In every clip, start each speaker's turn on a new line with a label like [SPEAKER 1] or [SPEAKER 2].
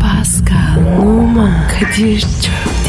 [SPEAKER 1] Pascal, Oman, Kadir çok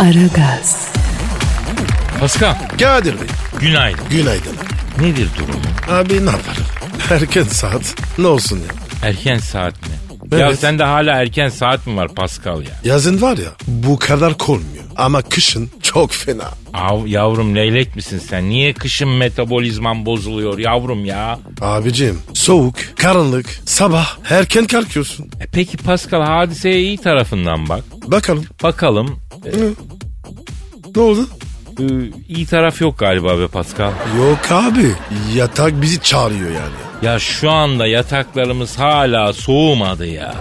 [SPEAKER 1] Aragaz,
[SPEAKER 2] Pascal.
[SPEAKER 3] Kadir Bey.
[SPEAKER 2] Günaydın.
[SPEAKER 3] Günaydın.
[SPEAKER 2] Nedir durumu?
[SPEAKER 3] Abi ne yapalım? Erken saat. Ne olsun ya?
[SPEAKER 2] Erken saat mi? Ya
[SPEAKER 3] Evet.
[SPEAKER 2] sende hala erken saat mi var Pascal ya?
[SPEAKER 3] Yazın var ya bu kadar kolmuyor. Ama kışın çok fena.
[SPEAKER 2] Av, yavrum leylek misin sen? Niye kışın metabolizman bozuluyor yavrum ya?
[SPEAKER 3] Abicim soğuk, karanlık, sabah erken kalkıyorsun.
[SPEAKER 2] E peki Pascal hadiseye iyi tarafından bak.
[SPEAKER 3] Bakalım
[SPEAKER 2] Bakalım. E,
[SPEAKER 3] ne oldu?
[SPEAKER 2] e, iyi taraf yok galiba be Pascal.
[SPEAKER 3] Yok abi yatak bizi çağırıyor yani.
[SPEAKER 2] Ya şu anda yataklarımız hala soğumadı ya.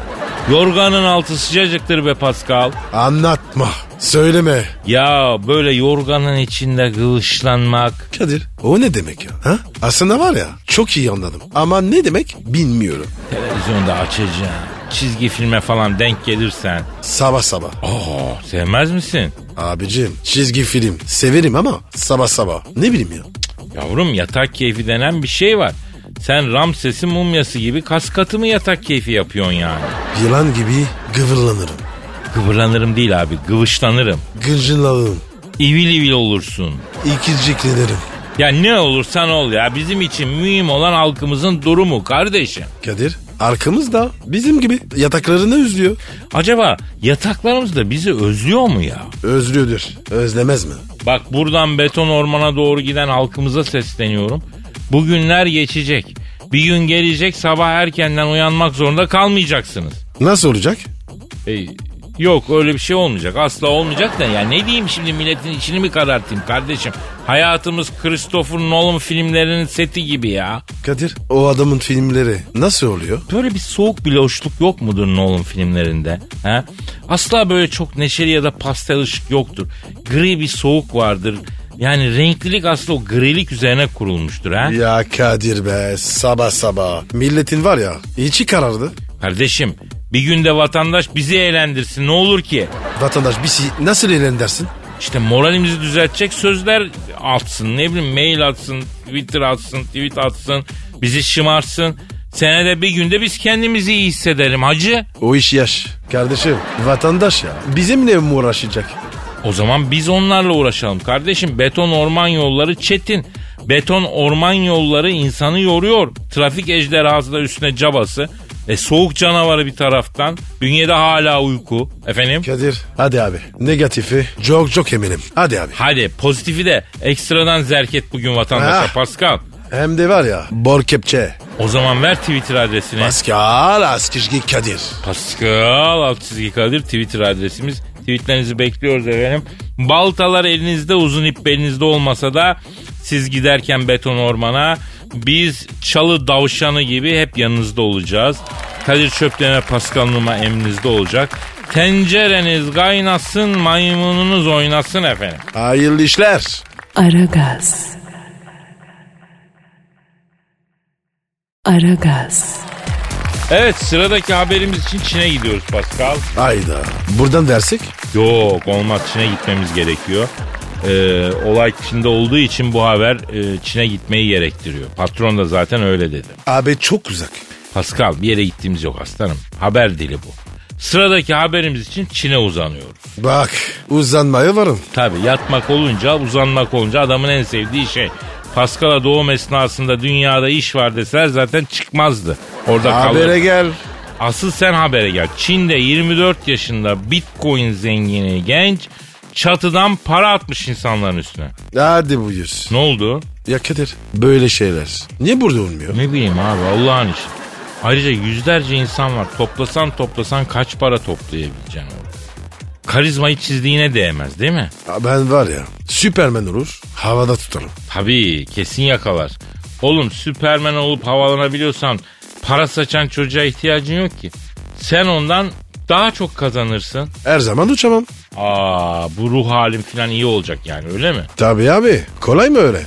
[SPEAKER 2] Yorganın altı sıcacıktır be Pascal.
[SPEAKER 3] Anlatma. Söyleme.
[SPEAKER 2] Ya böyle yorganın içinde kılıçlanmak,
[SPEAKER 3] Kadir o ne demek ya? Ha? Aslında var ya çok iyi anladım. Ama ne demek bilmiyorum.
[SPEAKER 2] Televizyonda açacağım. Çizgi filme falan denk gelirsen.
[SPEAKER 3] Sabah sabah.
[SPEAKER 2] Aa, sevmez misin?
[SPEAKER 3] Abicim çizgi film severim ama sabah sabah. Ne bileyim ya.
[SPEAKER 2] Yavrum yatak keyfi denen bir şey var. Sen Ramses'in mumyası gibi kaskatı mı yatak keyfi yapıyorsun yani?
[SPEAKER 3] Yılan gibi gıvırlanırım.
[SPEAKER 2] Kıvırlanırım değil abi, gıvışlanırım.
[SPEAKER 3] Gıcırlanırım.
[SPEAKER 2] İvil ivil olursun.
[SPEAKER 3] İkirciklenirim.
[SPEAKER 2] Ya ne olursan ol ya bizim için mühim olan halkımızın durumu kardeşim.
[SPEAKER 3] Kadir arkamızda bizim gibi yataklarını üzlüyor.
[SPEAKER 2] Acaba yataklarımız da bizi özlüyor mu ya?
[SPEAKER 3] Özlüyordur. Özlemez mi?
[SPEAKER 2] Bak buradan beton ormana doğru giden halkımıza sesleniyorum. Bugünler geçecek. Bir gün gelecek sabah erkenden uyanmak zorunda kalmayacaksınız.
[SPEAKER 3] Nasıl olacak?
[SPEAKER 2] E, yok öyle bir şey olmayacak. Asla olmayacak da ya ne diyeyim şimdi milletin içini mi karartayım kardeşim? Hayatımız Christopher Nolan filmlerinin seti gibi ya.
[SPEAKER 3] Kadir o adamın filmleri nasıl oluyor?
[SPEAKER 2] Böyle bir soğuk bir loşluk yok mudur Nolan filmlerinde? He? Asla böyle çok neşeli ya da pastel ışık yoktur. Gri bir soğuk vardır. Yani renklilik aslında o grilik üzerine kurulmuştur. ha.
[SPEAKER 3] Ya Kadir be sabah sabah. Milletin var ya içi karardı.
[SPEAKER 2] Kardeşim bir günde vatandaş bizi eğlendirsin ne olur ki?
[SPEAKER 3] Vatandaş bir şey nasıl eğlen dersin?
[SPEAKER 2] İşte moralimizi düzeltecek sözler atsın. Ne bileyim mail atsın, Twitter atsın, tweet atsın. Bizi şımarsın. Senede bir günde biz kendimizi iyi hissedelim hacı.
[SPEAKER 3] O iş yaş. Kardeşim vatandaş ya bizimle mi uğraşacak?
[SPEAKER 2] O zaman biz onlarla uğraşalım kardeşim. Beton orman yolları çetin. Beton orman yolları insanı yoruyor. Trafik ejderhası da üstüne cabası. E soğuk canavarı bir taraftan. Bünyede hala uyku. Efendim?
[SPEAKER 3] Kadir hadi abi negatifi çok çok eminim. Hadi abi.
[SPEAKER 2] Hadi pozitifi de ekstradan zerket bugün vatandaşa
[SPEAKER 3] Ah.
[SPEAKER 2] Pascal.
[SPEAKER 3] Hem de var ya bor kepçe.
[SPEAKER 2] O zaman ver Twitter adresini.
[SPEAKER 3] Pascal Askizgi Kadir.
[SPEAKER 2] Pascal alt çizgi Kadir Twitter adresimiz. Tweetlerinizi bekliyoruz efendim. Baltalar elinizde uzun ip belinizde olmasa da siz giderken beton ormana biz çalı davşanı gibi hep yanınızda olacağız. Kadir Çöplerine Pascal Numa emrinizde olacak. Tencereniz kaynasın maymununuz oynasın efendim.
[SPEAKER 3] Hayırlı işler.
[SPEAKER 1] Aragaz. Aragaz,
[SPEAKER 2] Evet sıradaki haberimiz için Çin'e gidiyoruz Pascal.
[SPEAKER 3] Hayda. Buradan versek?
[SPEAKER 2] Yok olmaz Çin'e gitmemiz gerekiyor. Ee, olay Çin'de olduğu için bu haber e, Çin'e gitmeyi gerektiriyor. Patron da zaten öyle dedi.
[SPEAKER 3] Abi çok uzak.
[SPEAKER 2] Pascal bir yere gittiğimiz yok aslanım. Haber dili bu. Sıradaki haberimiz için Çin'e uzanıyoruz.
[SPEAKER 3] Bak uzanmaya varım.
[SPEAKER 2] Tabi yatmak olunca uzanmak olunca adamın en sevdiği şey. Pascal'a doğum esnasında dünyada iş var deseler zaten çıkmazdı. Orada kalırdı.
[SPEAKER 3] Habere gel.
[SPEAKER 2] Asıl sen habere gel. Çin'de 24 yaşında bitcoin zengini genç çatıdan para atmış insanların üstüne.
[SPEAKER 3] Hadi buyur.
[SPEAKER 2] Ne oldu?
[SPEAKER 3] Ya Kadir böyle şeyler. Niye burada olmuyor?
[SPEAKER 2] Ne bileyim abi Allah'ın işi. Ayrıca yüzlerce insan var. Toplasan toplasan kaç para toplayabileceksin orada? Karizmayı çizdiğine değmez değil mi?
[SPEAKER 3] Ha, Ben var ya Süpermen olur havada tutarım.
[SPEAKER 2] Tabii kesin yakalar. Oğlum Süpermen olup havalanabiliyorsan para saçan çocuğa ihtiyacın yok ki. Sen ondan daha çok kazanırsın.
[SPEAKER 3] Her zaman uçamam.
[SPEAKER 2] Aa bu ruh halim falan iyi olacak yani öyle mi?
[SPEAKER 3] Tabii abi. Kolay mı öyle?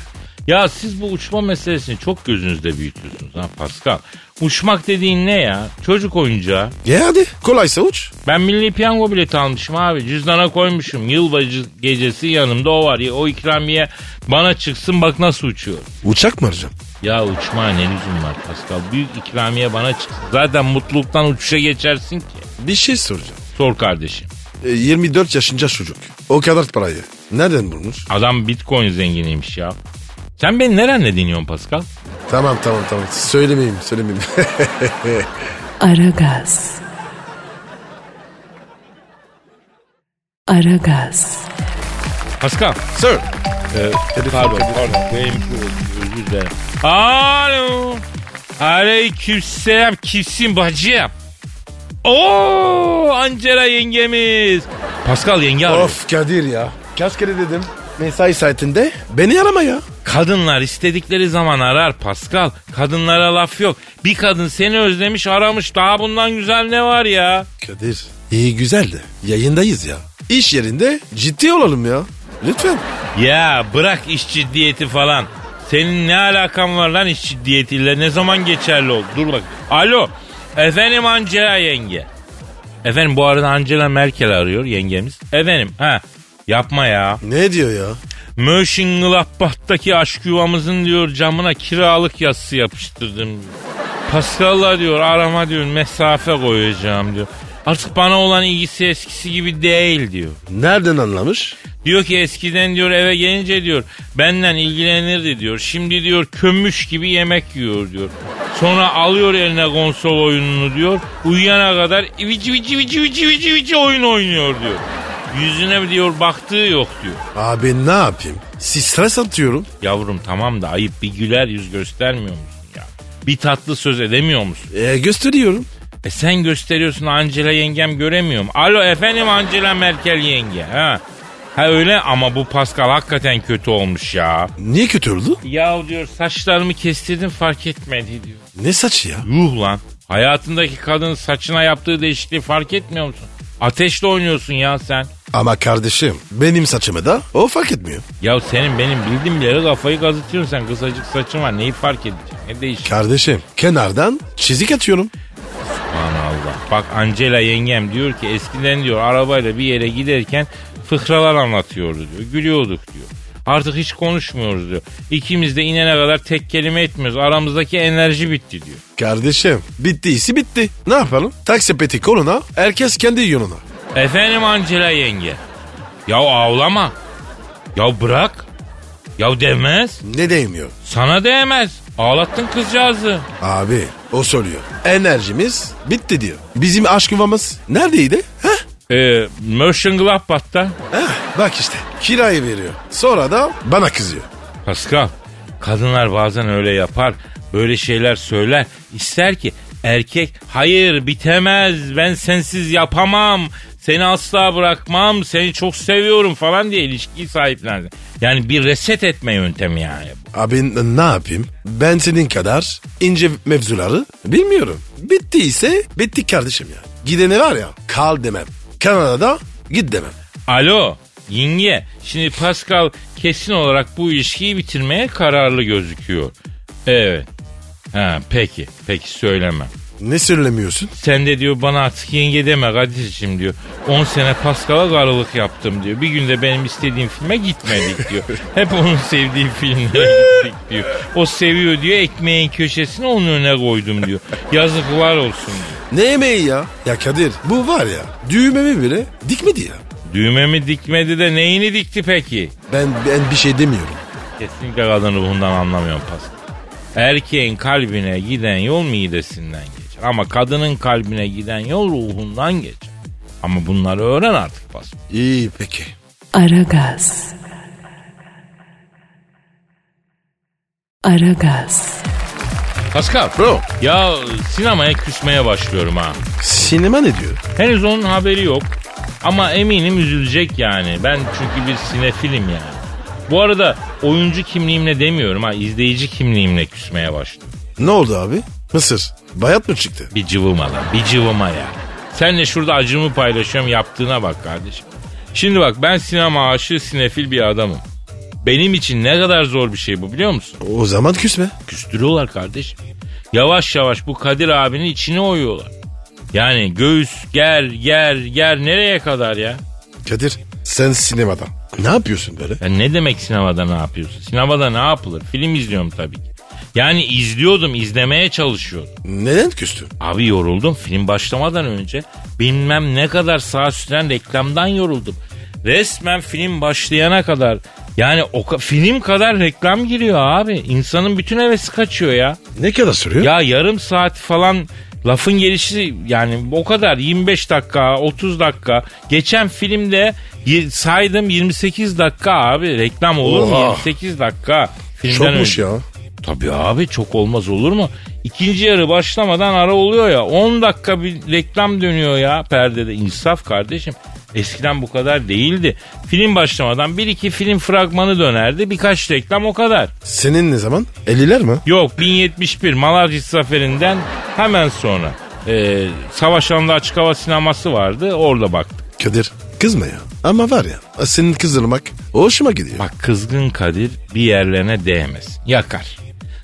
[SPEAKER 2] Ya siz bu uçma meselesini çok gözünüzde büyütüyorsunuz ha Pascal. Uçmak dediğin ne ya? Çocuk oyuncağı.
[SPEAKER 3] E hadi. Kolaysa uç.
[SPEAKER 2] Ben milli piyango bileti almışım abi. Cüzdana koymuşum. Yılbaşı gecesi yanımda o var. ya O ikramiye bana çıksın bak nasıl uçuyor.
[SPEAKER 3] Uçak mı arayacağım?
[SPEAKER 2] Ya uçma ne lüzum var Pascal. Büyük ikramiye bana çıksın. Zaten mutluluktan uçuşa geçersin ki.
[SPEAKER 3] Bir şey soracağım.
[SPEAKER 2] Sor kardeşim.
[SPEAKER 3] E, 24 yaşında çocuk. O kadar parayı. Nereden bulmuş?
[SPEAKER 2] Adam bitcoin zenginiymiş ya. Sen beni nerenle dinliyorsun Pascal?
[SPEAKER 3] Tamam tamam tamam. Söylemeyeyim söylemeyeyim.
[SPEAKER 1] Aragaz. Aragaz.
[SPEAKER 2] Pascal.
[SPEAKER 3] Sir.
[SPEAKER 2] Pardon pardon. Benim özür dilerim. Alo. Aleykümselam kimsin bacım? Oo Ancera yengemiz. Pascal yenge arıyor.
[SPEAKER 3] of Kadir ya. Kaç kere dedim. Mesai saatinde beni arama ya.
[SPEAKER 2] Kadınlar istedikleri zaman arar Pascal. Kadınlara laf yok. Bir kadın seni özlemiş aramış. Daha bundan güzel ne var ya?
[SPEAKER 3] Kadir iyi güzel de yayındayız ya. İş yerinde ciddi olalım ya. Lütfen.
[SPEAKER 2] Ya bırak iş ciddiyeti falan. Senin ne alakan var lan iş ciddiyetiyle? Ne zaman geçerli oldu? Dur bak. Alo. Efendim Angela yenge. Efendim bu arada Angela Merkel arıyor yengemiz. Efendim ha. Yapma ya.
[SPEAKER 3] Ne diyor ya?
[SPEAKER 2] Mönchengladbach'taki aşk yuvamızın diyor camına kiralık yazısı yapıştırdım. Pascal'la diyor arama diyor mesafe koyacağım diyor. Artık bana olan ilgisi eskisi gibi değil diyor.
[SPEAKER 3] Nereden anlamış?
[SPEAKER 2] Diyor ki eskiden diyor eve gelince diyor benden ilgilenirdi diyor. Şimdi diyor kömüş gibi yemek yiyor diyor. Sonra alıyor eline konsol oyununu diyor. Uyuyana kadar vici vici vici vici vici vici oyun oynuyor diyor. Yüzüne diyor baktığı yok diyor.
[SPEAKER 3] Abi ne yapayım? Siz stres atıyorum.
[SPEAKER 2] Yavrum tamam da ayıp bir güler yüz göstermiyor musun ya? Bir tatlı söz edemiyor musun?
[SPEAKER 3] E, gösteriyorum.
[SPEAKER 2] E sen gösteriyorsun Angela yengem göremiyorum. Alo efendim Angela Merkel yenge. Ha. Ha öyle ama bu Pascal hakikaten kötü olmuş ya.
[SPEAKER 3] Niye kötü oldu?
[SPEAKER 2] Ya diyor saçlarımı kestirdim fark etmedi diyor.
[SPEAKER 3] Ne saçı ya?
[SPEAKER 2] Yuh lan. Hayatındaki kadın saçına yaptığı değişikliği fark etmiyor musun? Ateşle oynuyorsun ya sen.
[SPEAKER 3] Ama kardeşim benim saçımı da o fark etmiyor.
[SPEAKER 2] Ya senin benim bildiğim bileli kafayı gazıtıyorsun sen. Kısacık saçın var neyi fark edecek? Ne değişik?
[SPEAKER 3] Kardeşim kenardan çizik atıyorum.
[SPEAKER 2] Aman Allah. Bak Angela yengem diyor ki eskiden diyor arabayla bir yere giderken fıkralar anlatıyordu diyor. Gülüyorduk diyor. Artık hiç konuşmuyoruz diyor. İkimiz de inene kadar tek kelime etmiyoruz. Aramızdaki enerji bitti diyor.
[SPEAKER 3] Kardeşim bittiyse bitti. Ne yapalım? Taksi peti koluna herkes kendi yoluna.
[SPEAKER 2] Efendim Angela yenge. Ya ağlama. Ya bırak. Ya demez.
[SPEAKER 3] Ne değmiyor?
[SPEAKER 2] Sana değmez. Ağlattın kızcağızı.
[SPEAKER 3] Abi o söylüyor. Enerjimiz bitti diyor. Bizim aşk yuvamız neredeydi? Heh.
[SPEAKER 2] Ee, Mönchengladbach'ta.
[SPEAKER 3] Heh, bak işte kirayı veriyor. Sonra da bana kızıyor.
[SPEAKER 2] Pascal, kadınlar bazen öyle yapar. Böyle şeyler söyler. İster ki erkek hayır bitemez ben sensiz yapamam. Seni asla bırakmam. Seni çok seviyorum falan diye ilişkiyi sahiplensin. Yani bir reset etme yöntemi yani.
[SPEAKER 3] Abi n- ne yapayım? Ben senin kadar ince mevzuları bilmiyorum. Bittiyse bitti kardeşim ya. Gidene var ya kal demem. Kanada'da git demem.
[SPEAKER 2] Alo yenge şimdi Pascal kesin olarak bu ilişkiyi bitirmeye kararlı gözüküyor. Evet. Ha, peki peki söyleme.
[SPEAKER 3] Ne söylemiyorsun?
[SPEAKER 2] Sen de diyor bana artık yenge deme Kadir'cim diyor. 10 sene Pascal'a karılık yaptım diyor. Bir günde benim istediğim filme gitmedik diyor. Hep onun sevdiği filmlere gittik diyor. O seviyor diyor ekmeğin köşesine onun önüne koydum diyor. Yazıklar olsun diyor.
[SPEAKER 3] Ne yemeği ya? Ya Kadir bu var ya düğmemi bile dikmedi ya.
[SPEAKER 2] Düğmemi dikmedi de neyini dikti peki?
[SPEAKER 3] Ben, ben bir şey demiyorum.
[SPEAKER 2] Kesinlikle kadın ruhundan anlamıyorum Pascal. Erkeğin kalbine giden yol midesinden geçer. Ama kadının kalbine giden yol ruhundan geçer. Ama bunları öğren artık Pascal.
[SPEAKER 3] İyi peki.
[SPEAKER 1] Aragaz. Aragaz.
[SPEAKER 2] Pascal.
[SPEAKER 3] Bro
[SPEAKER 2] Ya sinemaya küsmeye başlıyorum ha.
[SPEAKER 3] sinema ne diyor?
[SPEAKER 2] Henüz onun haberi yok. Ama eminim üzülecek yani. Ben çünkü bir sinefilim yani. Bu arada oyuncu kimliğimle demiyorum ha izleyici kimliğimle küsmeye başladım.
[SPEAKER 3] Ne oldu abi? Mısır. Bayat mı çıktı?
[SPEAKER 2] Bir cıvıma lan bir cıvıma ya. Senle şurada acımı paylaşıyorum yaptığına bak kardeşim. Şimdi bak ben sinema aşığı sinefil bir adamım. Benim için ne kadar zor bir şey bu biliyor musun?
[SPEAKER 3] O zaman küsme.
[SPEAKER 2] Küstürüyorlar kardeşim. Yavaş yavaş bu Kadir abinin içine oyuyorlar. Yani göğüs ger ger ger nereye kadar ya?
[SPEAKER 3] Kadir sen sinemada. Ne yapıyorsun böyle?
[SPEAKER 2] Ya ne demek sinemada ne yapıyorsun? Sinemada ne yapılır? Film izliyorum tabii ki. Yani izliyordum, izlemeye çalışıyordum.
[SPEAKER 3] Neden küstün?
[SPEAKER 2] Abi yoruldum film başlamadan önce. Bilmem ne kadar saat süren reklamdan yoruldum. Resmen film başlayana kadar yani o ka- film kadar reklam giriyor abi. İnsanın bütün hevesi kaçıyor ya.
[SPEAKER 3] Ne kadar sürüyor?
[SPEAKER 2] Ya yarım saat falan lafın gelişi yani o kadar 25 dakika 30 dakika. Geçen filmde y- saydım 28 dakika abi reklam olur mu
[SPEAKER 3] Oha.
[SPEAKER 2] 28 dakika. Filmden
[SPEAKER 3] Çokmuş
[SPEAKER 2] önce.
[SPEAKER 3] ya.
[SPEAKER 2] Tabii abi çok olmaz olur mu? İkinci yarı başlamadan ara oluyor ya 10 dakika bir reklam dönüyor ya perdede insaf kardeşim. Eskiden bu kadar değildi. Film başlamadan bir iki film fragmanı dönerdi birkaç reklam o kadar.
[SPEAKER 3] Senin ne zaman? 50'ler mi?
[SPEAKER 2] Yok 1071 Malazgirt zaferinden hemen sonra. E, Savaş alanında açık hava sineması vardı orada baktık.
[SPEAKER 3] Kadir kızma ya. Ama var ya senin kızdırmak hoşuma gidiyor.
[SPEAKER 2] Bak kızgın Kadir bir yerlerine değmez. Yakar.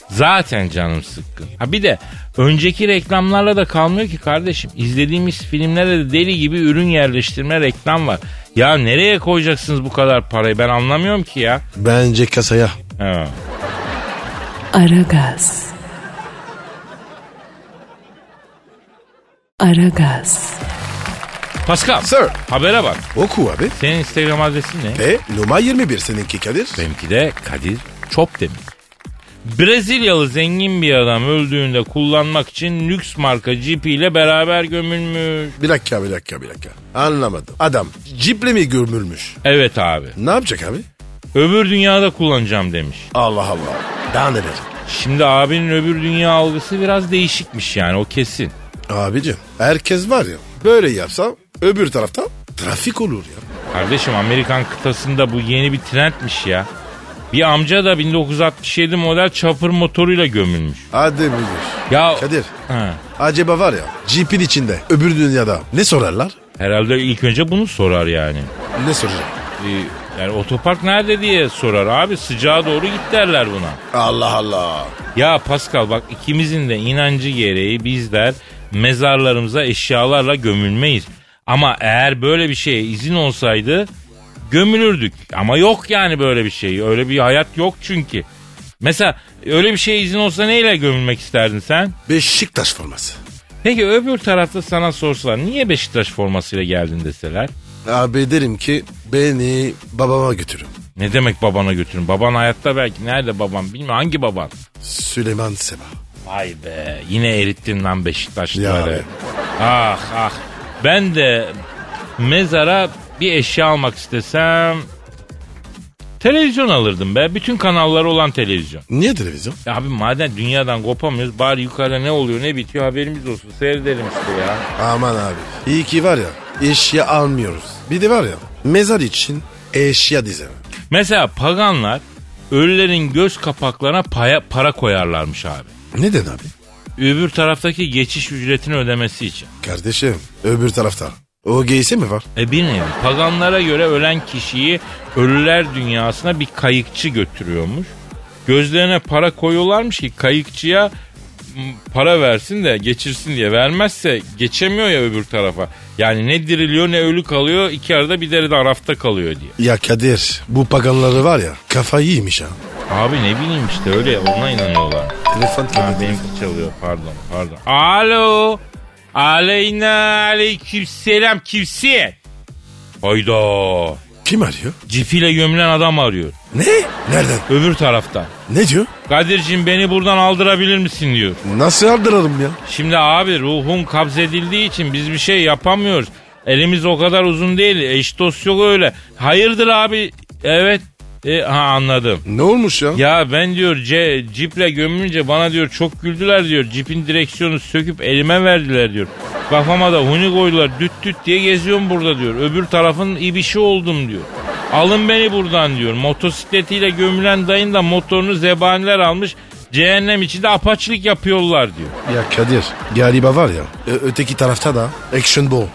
[SPEAKER 2] Zaten canım sıkkın. Ha bir de önceki reklamlarla da kalmıyor ki kardeşim. İzlediğimiz filmlere de deli gibi ürün yerleştirme reklam var. Ya nereye koyacaksınız bu kadar parayı ben anlamıyorum ki ya.
[SPEAKER 3] Bence kasaya.
[SPEAKER 2] Ha.
[SPEAKER 1] Aragaz. Aragaz.
[SPEAKER 2] Pascal.
[SPEAKER 3] Sir.
[SPEAKER 2] Habere bak.
[SPEAKER 3] Oku abi.
[SPEAKER 2] Senin Instagram adresin ne?
[SPEAKER 3] Ve numara 21 seninki Kadir.
[SPEAKER 2] Benimki de Kadir Çopdemir. Brezilyalı zengin bir adam öldüğünde kullanmak için lüks marka Jeep ile beraber gömülmüş.
[SPEAKER 3] Bir dakika bir dakika bir dakika. Anlamadım. Adam ciple mi gömülmüş?
[SPEAKER 2] Evet abi.
[SPEAKER 3] Ne yapacak abi?
[SPEAKER 2] Öbür dünyada kullanacağım demiş.
[SPEAKER 3] Allah Allah. Daha neler?
[SPEAKER 2] Şimdi abinin öbür dünya algısı biraz değişikmiş yani o kesin.
[SPEAKER 3] Abicim herkes var ya böyle yapsa öbür tarafta trafik olur ya.
[SPEAKER 2] Kardeşim Amerikan kıtasında bu yeni bir trendmiş ya. Bir amca da 1967 model çapır motoruyla gömülmüş.
[SPEAKER 3] Hadi müdür.
[SPEAKER 2] Ya
[SPEAKER 3] Kadir
[SPEAKER 2] Ha.
[SPEAKER 3] acaba var ya Jeep'in içinde öbür dünyada ne sorarlar?
[SPEAKER 2] herhalde ilk önce bunu sorar yani.
[SPEAKER 3] Ne soracak?
[SPEAKER 2] E, yani otopark nerede diye sorar abi sıcağa doğru git derler buna.
[SPEAKER 3] Allah Allah.
[SPEAKER 2] Ya Pascal bak ikimizin de inancı gereği bizler mezarlarımıza eşyalarla gömülmeyiz. Ama eğer böyle bir şeye izin olsaydı gömülürdük. Ama yok yani böyle bir şey. Öyle bir hayat yok çünkü. Mesela öyle bir şeye izin olsa neyle gömülmek isterdin sen?
[SPEAKER 3] Beşiktaş forması.
[SPEAKER 2] Peki öbür tarafta sana sorsalar niye Beşiktaş formasıyla geldin deseler?
[SPEAKER 3] Abi derim ki beni babama götürün.
[SPEAKER 2] Ne demek babana götürün? Baban hayatta belki. Nerede baban bilmiyorum. Hangi baban?
[SPEAKER 3] Süleyman Seba.
[SPEAKER 2] Vay be yine erittin lan
[SPEAKER 3] Ya
[SPEAKER 2] Beşiktaşlıları.
[SPEAKER 3] abi.
[SPEAKER 2] Ah ah. Ben de mezara bir eşya almak istesem televizyon alırdım be. Bütün kanalları olan televizyon.
[SPEAKER 3] Niye televizyon?
[SPEAKER 2] Ya abi madem dünyadan kopamıyoruz bari yukarıda ne oluyor ne bitiyor haberimiz olsun seyredelim işte ya.
[SPEAKER 3] Aman abi. İyi ki var ya eşya almıyoruz. Bir de var ya mezar için eşya dizeme.
[SPEAKER 2] Mesela paganlar ölülerin göz kapaklarına paya, para koyarlarmış abi.
[SPEAKER 3] Neden abi?
[SPEAKER 2] Öbür taraftaki geçiş ücretini ödemesi için.
[SPEAKER 3] Kardeşim öbür tarafta. O geysi mi var?
[SPEAKER 2] E bir nevi. Paganlara göre ölen kişiyi ölüler dünyasına bir kayıkçı götürüyormuş. Gözlerine para koyuyorlarmış ki kayıkçıya m, para versin de geçirsin diye. Vermezse geçemiyor ya öbür tarafa. Yani ne diriliyor ne ölü kalıyor. iki arada bir deri de arafta kalıyor diye.
[SPEAKER 3] Ya Kadir bu paganları var ya kafayı yemiş ha.
[SPEAKER 2] Abi ne bileyim işte öyle ona inanıyorlar.
[SPEAKER 3] Telefon
[SPEAKER 2] Ha, benimki çalıyor pardon pardon. Alo. Aleyna aleyküm selam kimsin? Hayda.
[SPEAKER 3] Kim arıyor?
[SPEAKER 2] Cifiyle gömülen adam arıyor.
[SPEAKER 3] Ne? Nereden?
[SPEAKER 2] Öbür tarafta.
[SPEAKER 3] Ne diyor?
[SPEAKER 2] Kadir'cim beni buradan aldırabilir misin diyor.
[SPEAKER 3] Nasıl aldırırım ya?
[SPEAKER 2] Şimdi abi ruhun kabzedildiği için biz bir şey yapamıyoruz. Elimiz o kadar uzun değil. Eş dost yok öyle. Hayırdır abi? Evet. E, ha anladım.
[SPEAKER 3] Ne olmuş ya?
[SPEAKER 2] Ya ben diyor ce, ciple gömülünce bana diyor çok güldüler diyor. Cipin direksiyonu söküp elime verdiler diyor. Kafama da huni koydular düt düt diye geziyorum burada diyor. Öbür tarafın ibişi oldum diyor. Alın beni buradan diyor. Motosikletiyle gömülen dayın da motorunu zebaniler almış. Cehennem içinde apaçlık yapıyorlar diyor.
[SPEAKER 3] Ya Kadir galiba var ya ö- öteki tarafta da action ball.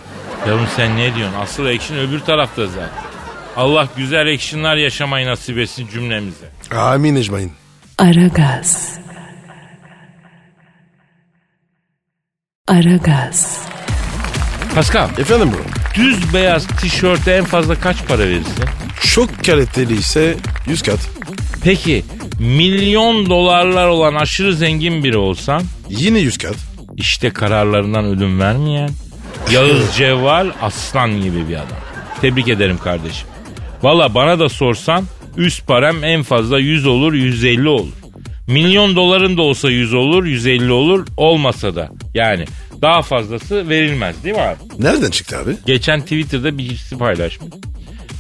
[SPEAKER 2] Yavrum sen ne diyorsun? Asıl action öbür tarafta zaten. Allah güzel actionlar yaşamayı nasip etsin cümlemize.
[SPEAKER 3] Amin ecmain.
[SPEAKER 1] Aragaz. Aragaz.
[SPEAKER 2] Pascal,
[SPEAKER 3] Efendim bro.
[SPEAKER 2] düz beyaz tişörte en fazla kaç para verirsin?
[SPEAKER 3] Çok kaliteli ise 100 kat.
[SPEAKER 2] Peki milyon dolarlar olan aşırı zengin biri olsan
[SPEAKER 3] Yine 100 kat.
[SPEAKER 2] işte kararlarından ödün vermeyen Yağız Cevval aslan gibi bir adam. Tebrik ederim kardeşim. Valla bana da sorsan üst param en fazla 100 olur 150 olur. Milyon doların da olsa 100 olur 150 olur olmasa da yani daha fazlası verilmez değil mi abi?
[SPEAKER 3] Nereden çıktı abi?
[SPEAKER 2] Geçen Twitter'da birisi paylaşmış.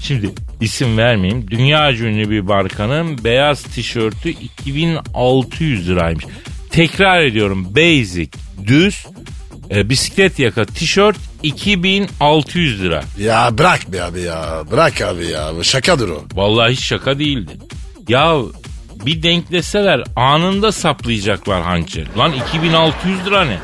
[SPEAKER 2] Şimdi isim vermeyeyim. Dünya ünlü bir markanın beyaz tişörtü 2600 liraymış. Tekrar ediyorum. Basic, düz, e, bisiklet yaka tişört 2600 lira.
[SPEAKER 3] Ya bırak be abi ya. Bırak abi ya. Bu Şakadır o.
[SPEAKER 2] Vallahi hiç şaka değildi. Ya bir denkleseler anında saplayacaklar hançer. Lan 2600 lira ne?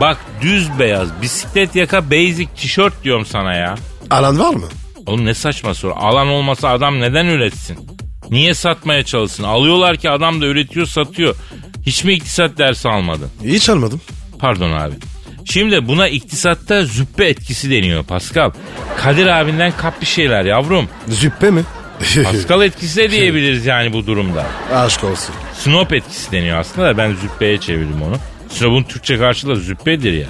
[SPEAKER 2] Bak düz beyaz bisiklet yaka basic tişört diyorum sana ya.
[SPEAKER 3] Alan var mı?
[SPEAKER 2] Oğlum ne saçma soru. Alan olmasa adam neden üretsin? Niye satmaya çalışsın? Alıyorlar ki adam da üretiyor satıyor. Hiç mi iktisat dersi almadın?
[SPEAKER 3] Hiç almadım.
[SPEAKER 2] Pardon abi. Şimdi buna iktisatta züppe etkisi deniyor Pascal. Kadir abinden kap bir şeyler yavrum.
[SPEAKER 3] Züppe mi?
[SPEAKER 2] Pascal etkisi de diyebiliriz yani bu durumda.
[SPEAKER 3] Aşk olsun.
[SPEAKER 2] Snop etkisi deniyor aslında da ben züppeye çevirdim onu. Snop'un Türkçe karşılığı züppedir ya.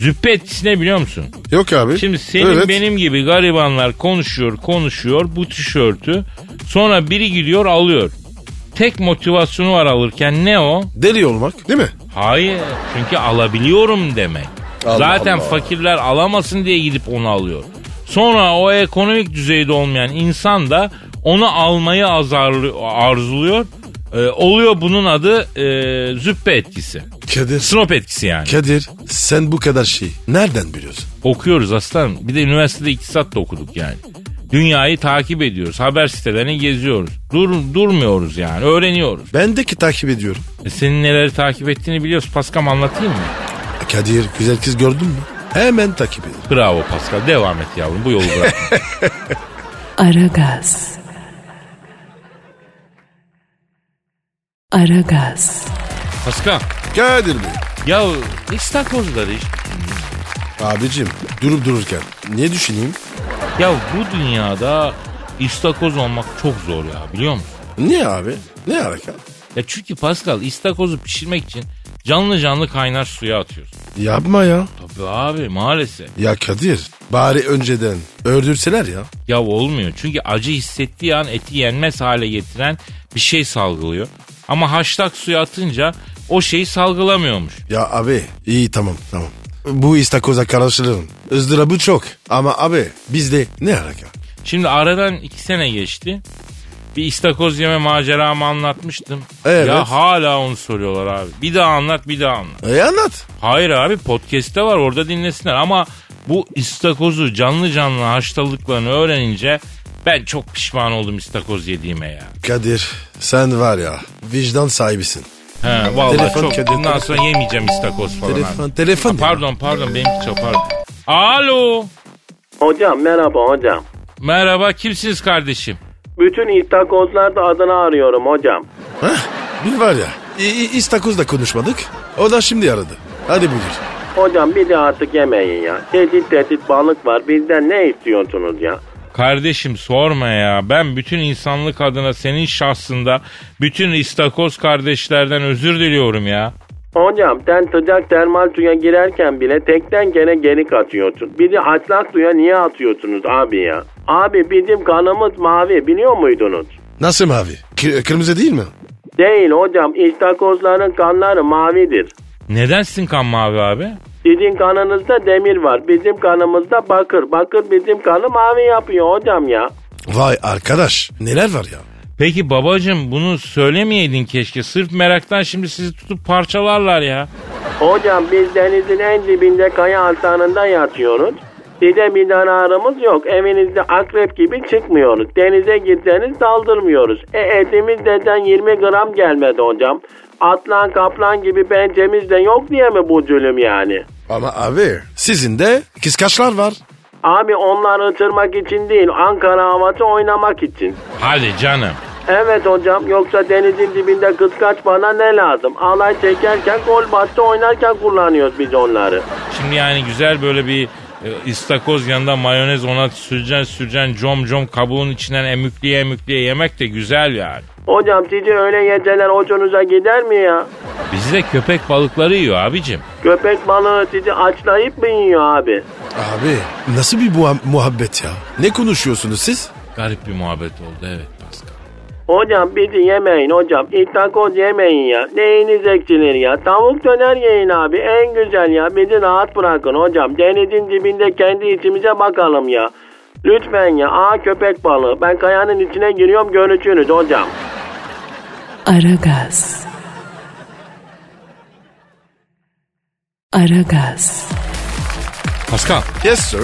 [SPEAKER 2] Züppe etkisi ne biliyor musun?
[SPEAKER 3] Yok abi.
[SPEAKER 2] Şimdi senin
[SPEAKER 3] Evet.
[SPEAKER 2] benim gibi garibanlar konuşuyor konuşuyor bu tişörtü. Sonra biri gidiyor alıyor. Tek motivasyonu var alırken ne o?
[SPEAKER 3] Deli olmak değil mi?
[SPEAKER 2] Hayır çünkü alabiliyorum demek.
[SPEAKER 3] Allah
[SPEAKER 2] Zaten
[SPEAKER 3] Allah.
[SPEAKER 2] fakirler alamasın diye gidip onu alıyor. Sonra o ekonomik düzeyde olmayan insan da onu almayı azarlı, arzuluyor. Ee, oluyor bunun adı e, züppe etkisi.
[SPEAKER 3] Kadir.
[SPEAKER 2] Snop etkisi yani.
[SPEAKER 3] Kadir sen bu kadar şeyi nereden biliyorsun?
[SPEAKER 2] Okuyoruz aslanım. Bir de üniversitede iktisat da okuduk yani. Dünyayı takip ediyoruz. Haber sitelerini geziyoruz. Dur, durmuyoruz yani. Öğreniyoruz.
[SPEAKER 3] Ben de ki takip ediyorum.
[SPEAKER 2] E senin neleri takip ettiğini biliyoruz. Paskam anlatayım mı?
[SPEAKER 3] E, Kadir güzel kız gördün mü? Hemen takip ediyorum.
[SPEAKER 2] Bravo Pascal. Devam et yavrum. Bu yolu bırak.
[SPEAKER 1] Aragaz. Aragaz.
[SPEAKER 2] Pascal.
[SPEAKER 3] Kadir Bey.
[SPEAKER 2] Ya istakozları işte.
[SPEAKER 3] Abicim durup dururken ne düşüneyim?
[SPEAKER 2] Ya bu dünyada istakoz olmak çok zor ya biliyor musun?
[SPEAKER 3] Niye abi? Ne alaka?
[SPEAKER 2] Ya çünkü Pascal istakozu pişirmek için canlı canlı kaynar suya atıyorsun.
[SPEAKER 3] Yapma ya.
[SPEAKER 2] Tabii abi maalesef.
[SPEAKER 3] Ya Kadir bari önceden öldürseler ya.
[SPEAKER 2] Ya olmuyor çünkü acı hissettiği an eti yenmez hale getiren bir şey salgılıyor. Ama haşlak suya atınca o şeyi salgılamıyormuş.
[SPEAKER 3] Ya abi iyi tamam tamam. Bu istakoza karışılırım. Izdırabı çok. Ama abi bizde ne alaka?
[SPEAKER 2] Şimdi aradan iki sene geçti. Bir istakoz yeme maceramı anlatmıştım.
[SPEAKER 3] Evet.
[SPEAKER 2] Ya hala onu soruyorlar abi. Bir daha anlat bir daha anlat.
[SPEAKER 3] E anlat.
[SPEAKER 2] Hayır abi podcast'te var orada dinlesinler ama bu istakozu canlı canlı haşladıklarını öğrenince ben çok pişman oldum istakoz yediğime ya.
[SPEAKER 3] Kadir sen var ya vicdan sahibisin.
[SPEAKER 2] He vallahi
[SPEAKER 3] Telefon
[SPEAKER 2] çok.
[SPEAKER 3] kedi-
[SPEAKER 2] Bundan sonra yemeyeceğim istakoz falan. abi.
[SPEAKER 3] Telefon telefon. ya.
[SPEAKER 2] Pardon pardon benimki çapardı. Alo.
[SPEAKER 4] Hocam merhaba hocam.
[SPEAKER 2] Merhaba kimsiniz kardeşim?
[SPEAKER 4] Bütün istakozlarda adını arıyorum hocam.
[SPEAKER 3] Hah, bir var ya i- i- istakozla konuşmadık. O da şimdi aradı. Hadi buyur.
[SPEAKER 4] Hocam bir de artık yemeyin ya. Tehdit tehdit balık var. Bizden ne istiyorsunuz ya?
[SPEAKER 2] Kardeşim sorma ya. Ben bütün insanlık adına senin şahsında bütün istakoz kardeşlerden özür diliyorum ya.
[SPEAKER 4] Hocam sen sıcak termal suya girerken bile tekten gene geri katıyorsun. Bizi haçlak suya niye atıyorsunuz abi ya? Abi bizim kanımız mavi biliyor muydunuz?
[SPEAKER 3] Nasıl mavi? Kı- kırmızı değil mi?
[SPEAKER 4] Değil hocam istakozların kanları mavidir.
[SPEAKER 2] Neden sizin kan mavi abi?
[SPEAKER 4] Sizin kanınızda demir var. Bizim kanımızda bakır. Bakır bizim kanı mavi yapıyor hocam ya.
[SPEAKER 3] Vay arkadaş neler var ya.
[SPEAKER 2] Peki babacım bunu söylemeyeydin keşke. Sırf meraktan şimdi sizi tutup parçalarlar ya.
[SPEAKER 4] Hocam biz denizin en dibinde kaya altanında yatıyoruz. Size bir zararımız yok. Evinizde akrep gibi çıkmıyoruz. Denize girseniz saldırmıyoruz. E etimiz neden 20 gram gelmedi hocam. Atlan kaplan gibi bencemiz de yok diye mi bu zulüm yani?
[SPEAKER 3] Ama abi sizin de kıskaçlar var.
[SPEAKER 4] Abi onlar ısırmak için değil Ankara havası oynamak için.
[SPEAKER 2] Hadi canım.
[SPEAKER 4] Evet hocam yoksa denizin dibinde kıskaç bana ne lazım? Alay çekerken gol bastı oynarken kullanıyoruz biz onları.
[SPEAKER 2] Şimdi yani güzel böyle bir e, istakoz yanında mayonez ona süreceksin süreceksin com com kabuğun içinden emükliye emükliye yemek de güzel yani.
[SPEAKER 4] Hocam sizi öyle yeteler hoşunuza gider mi ya?
[SPEAKER 2] Bizi de köpek balıkları yiyor abicim.
[SPEAKER 4] Köpek balığı sizi açlayıp mı yiyor abi?
[SPEAKER 3] Abi nasıl bir muha- muhabbet ya? Ne konuşuyorsunuz siz?
[SPEAKER 2] Garip bir muhabbet oldu evet Pascal.
[SPEAKER 4] Hocam bizi yemeyin hocam. İstakoz yemeyin ya. Neyiniz eksilir ya? Tavuk döner yiyin abi. En güzel ya. Bizi rahat bırakın hocam. Denizin dibinde kendi içimize bakalım ya. Lütfen ya. Aa köpek balığı. Ben kayanın içine giriyorum görüşürüz hocam.
[SPEAKER 1] Aragaz. Aragaz.
[SPEAKER 2] Pascal
[SPEAKER 3] Yes sir.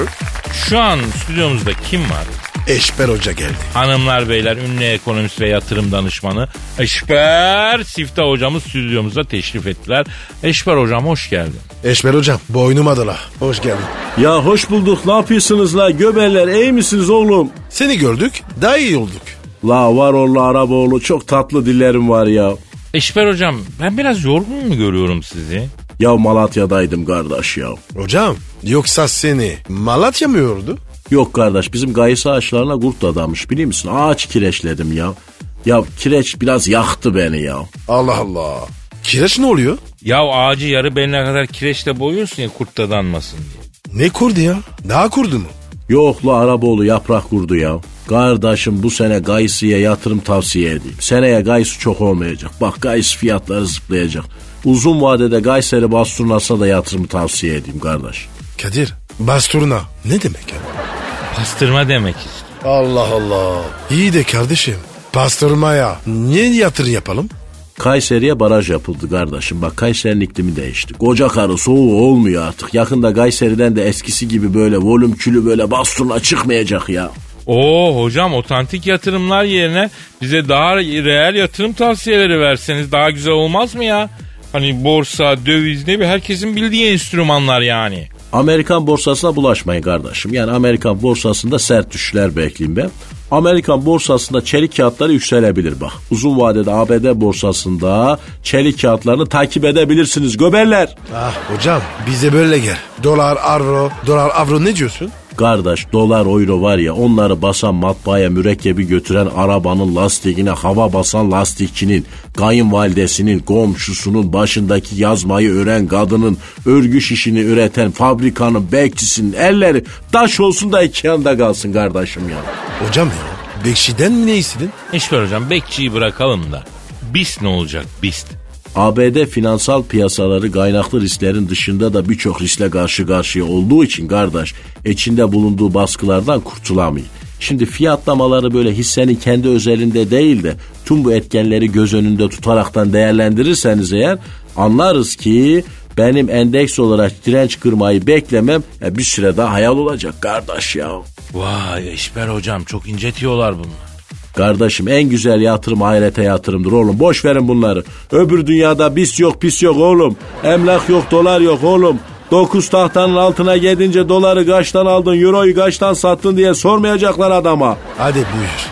[SPEAKER 2] şu an stüdyomuzda kim var?
[SPEAKER 3] Eşber Hoca geldi.
[SPEAKER 2] Hanımlar beyler ünlü ekonomist ve yatırım danışmanı Eşber Sifta hocamız stüdyomuza teşrif ettiler. Eşber hocam hoş geldin.
[SPEAKER 3] Eşber Hocam boynum adına. Hoş geldin.
[SPEAKER 5] Ya hoş bulduk ne yapıyorsunuz la göberler iyi misiniz oğlum?
[SPEAKER 3] Seni gördük daha iyi olduk.
[SPEAKER 5] La var oğlu araba oğlu çok tatlı dillerim var ya.
[SPEAKER 2] Eşber hocam ben biraz yorgun mu görüyorum sizi?
[SPEAKER 5] Ya Malatya'daydım kardeş ya.
[SPEAKER 3] Hocam yoksa seni Malatya mı yordu?
[SPEAKER 5] Yok kardeş bizim gayısı ağaçlarına kurt adamış biliyor musun? Ağaç kireçledim ya. Ya kireç biraz yaktı beni ya.
[SPEAKER 3] Allah Allah. Kireç ne oluyor?
[SPEAKER 2] Ya ağacı yarı beline kadar kireçle boyuyorsun ya kurt da danmasın diye.
[SPEAKER 3] Ne kurdu ya? Daha kurdu mu?
[SPEAKER 5] Yok la Araboğlu yaprak kurdu ya. Kardeşim bu sene gayısıya yatırım tavsiye edeyim. Seneye gayısı çok olmayacak. Bak gayısı fiyatları zıplayacak. Uzun vadede Gayseri basturnasına da yatırımı tavsiye edeyim kardeş.
[SPEAKER 3] Kadir basturna ne demek ya?
[SPEAKER 2] Pastırma demek istiyor.
[SPEAKER 3] Allah Allah. İyi de kardeşim pastırmaya niye yatırım yapalım?
[SPEAKER 5] Kayseri'ye baraj yapıldı kardeşim. Bak Kayseri'nin iklimi değişti. Koca karı soğuğu olmuyor artık. Yakında Kayseri'den de eskisi gibi böyle volümkülü böyle basturna çıkmayacak ya.
[SPEAKER 2] Oo hocam otantik yatırımlar yerine bize daha reel yatırım tavsiyeleri verseniz daha güzel olmaz mı ya? Hani borsa, döviz ne bir herkesin bildiği enstrümanlar yani.
[SPEAKER 5] Amerikan borsasına bulaşmayın kardeşim. Yani Amerikan borsasında sert düşüşler bekleyin ben. Amerikan borsasında çelik kağıtları yükselebilir bak. Uzun vadede ABD borsasında çelik kağıtlarını takip edebilirsiniz göberler.
[SPEAKER 3] Ah hocam bize böyle gel. Dolar, avro, dolar, avro ne diyorsun?
[SPEAKER 5] Kardeş dolar euro var ya onları basan matbaaya mürekkebi götüren arabanın lastiğine hava basan lastikçinin, kayınvalidesinin, komşusunun başındaki yazmayı ören kadının, örgü şişini üreten fabrikanın bekçisinin elleri taş olsun da iki yanda kalsın kardeşim ya.
[SPEAKER 3] Hocam ya Bekşi'den mi ne istedin?
[SPEAKER 2] İşber hocam bekçiyi bırakalım da. BIST ne olacak BIST?
[SPEAKER 5] ABD finansal piyasaları kaynaklı risklerin dışında da birçok riskle karşı karşıya olduğu için kardeş içinde bulunduğu baskılardan kurtulamıyor. Şimdi fiyatlamaları böyle hissenin kendi özelinde değil de tüm bu etkenleri göz önünde tutaraktan değerlendirirseniz eğer anlarız ki benim endeks olarak direnç kırmayı beklemem e, bir süre daha hayal olacak kardeş ya.
[SPEAKER 2] Vay Eşber hocam çok incetiyorlar bunu.
[SPEAKER 5] Kardeşim en güzel yatırım ahirete yatırımdır oğlum. Boş verin bunları. Öbür dünyada bis yok pis yok oğlum. Emlak yok dolar yok oğlum. Dokuz tahtanın altına gelince doları kaçtan aldın, euroyu kaçtan sattın diye sormayacaklar adama.
[SPEAKER 3] Hadi buyur.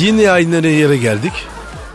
[SPEAKER 3] Yine aynı yere geldik.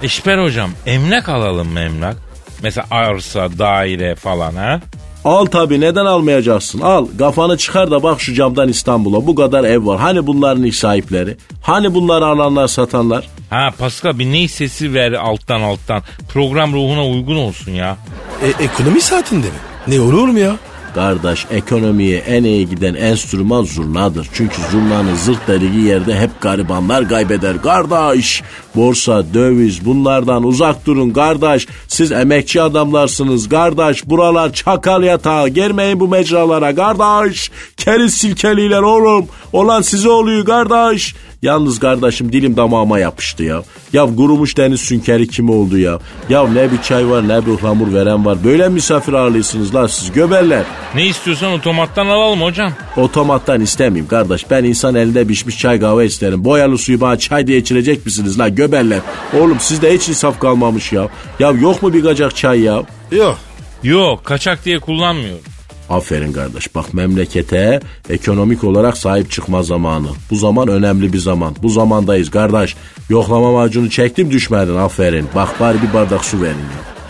[SPEAKER 2] Eşber hocam emlak alalım mı emlak? Mesela arsa, daire falan ha?
[SPEAKER 5] Al tabi neden almayacaksın? Al kafanı çıkar da bak şu camdan İstanbul'a bu kadar ev var. Hani bunların ilk sahipleri? Hani bunları alanlar satanlar?
[SPEAKER 2] Ha Pascal bir ney sesi ver alttan alttan. Program ruhuna uygun olsun ya.
[SPEAKER 3] E, ekonomi saatinde mi? Ne olur mu ya?
[SPEAKER 5] Kardeş ekonomiye en iyi giden enstrüman zurnadır. Çünkü zurnanın zırt deliği yerde hep garibanlar kaybeder. Kardeş borsa, döviz bunlardan uzak durun kardeş. Siz emekçi adamlarsınız kardeş. Buralar çakal yatağı. Girmeyin bu mecralara kardeş. Keriz silkeliler oğlum. Olan size oluyor kardeş. Yalnız kardeşim dilim damağıma yapıştı ya. Ya kurumuş deniz sünkeri kim oldu ya? Ya ne bir çay var ne bir ıhlamur veren var. Böyle misafir ağırlıyorsunuz lan siz göberler.
[SPEAKER 2] Ne istiyorsan otomattan alalım hocam.
[SPEAKER 5] Otomattan istemeyeyim kardeş. Ben insan elinde pişmiş çay kahve isterim. Boyalı suyu bana çay diye içilecek misiniz lan geberler. Oğlum sizde hiç insaf kalmamış ya. Ya yok mu bir gacak çay ya?
[SPEAKER 3] Yok.
[SPEAKER 2] Yok kaçak diye kullanmıyorum.
[SPEAKER 5] Aferin kardeş bak memlekete ekonomik olarak sahip çıkma zamanı. Bu zaman önemli bir zaman. Bu zamandayız kardeş. Yoklama macunu çektim düşmedin aferin. Bak bari bir bardak su verin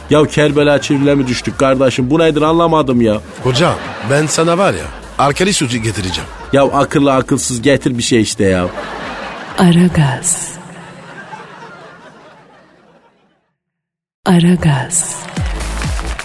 [SPEAKER 5] ya. Ya Kerbela çivrile mi düştük kardeşim bu nedir anlamadım ya.
[SPEAKER 3] Hocam ben sana var ya arkali sucu getireceğim.
[SPEAKER 5] Ya akıllı akılsız getir bir şey işte ya.
[SPEAKER 1] Aragaz. Aragaz.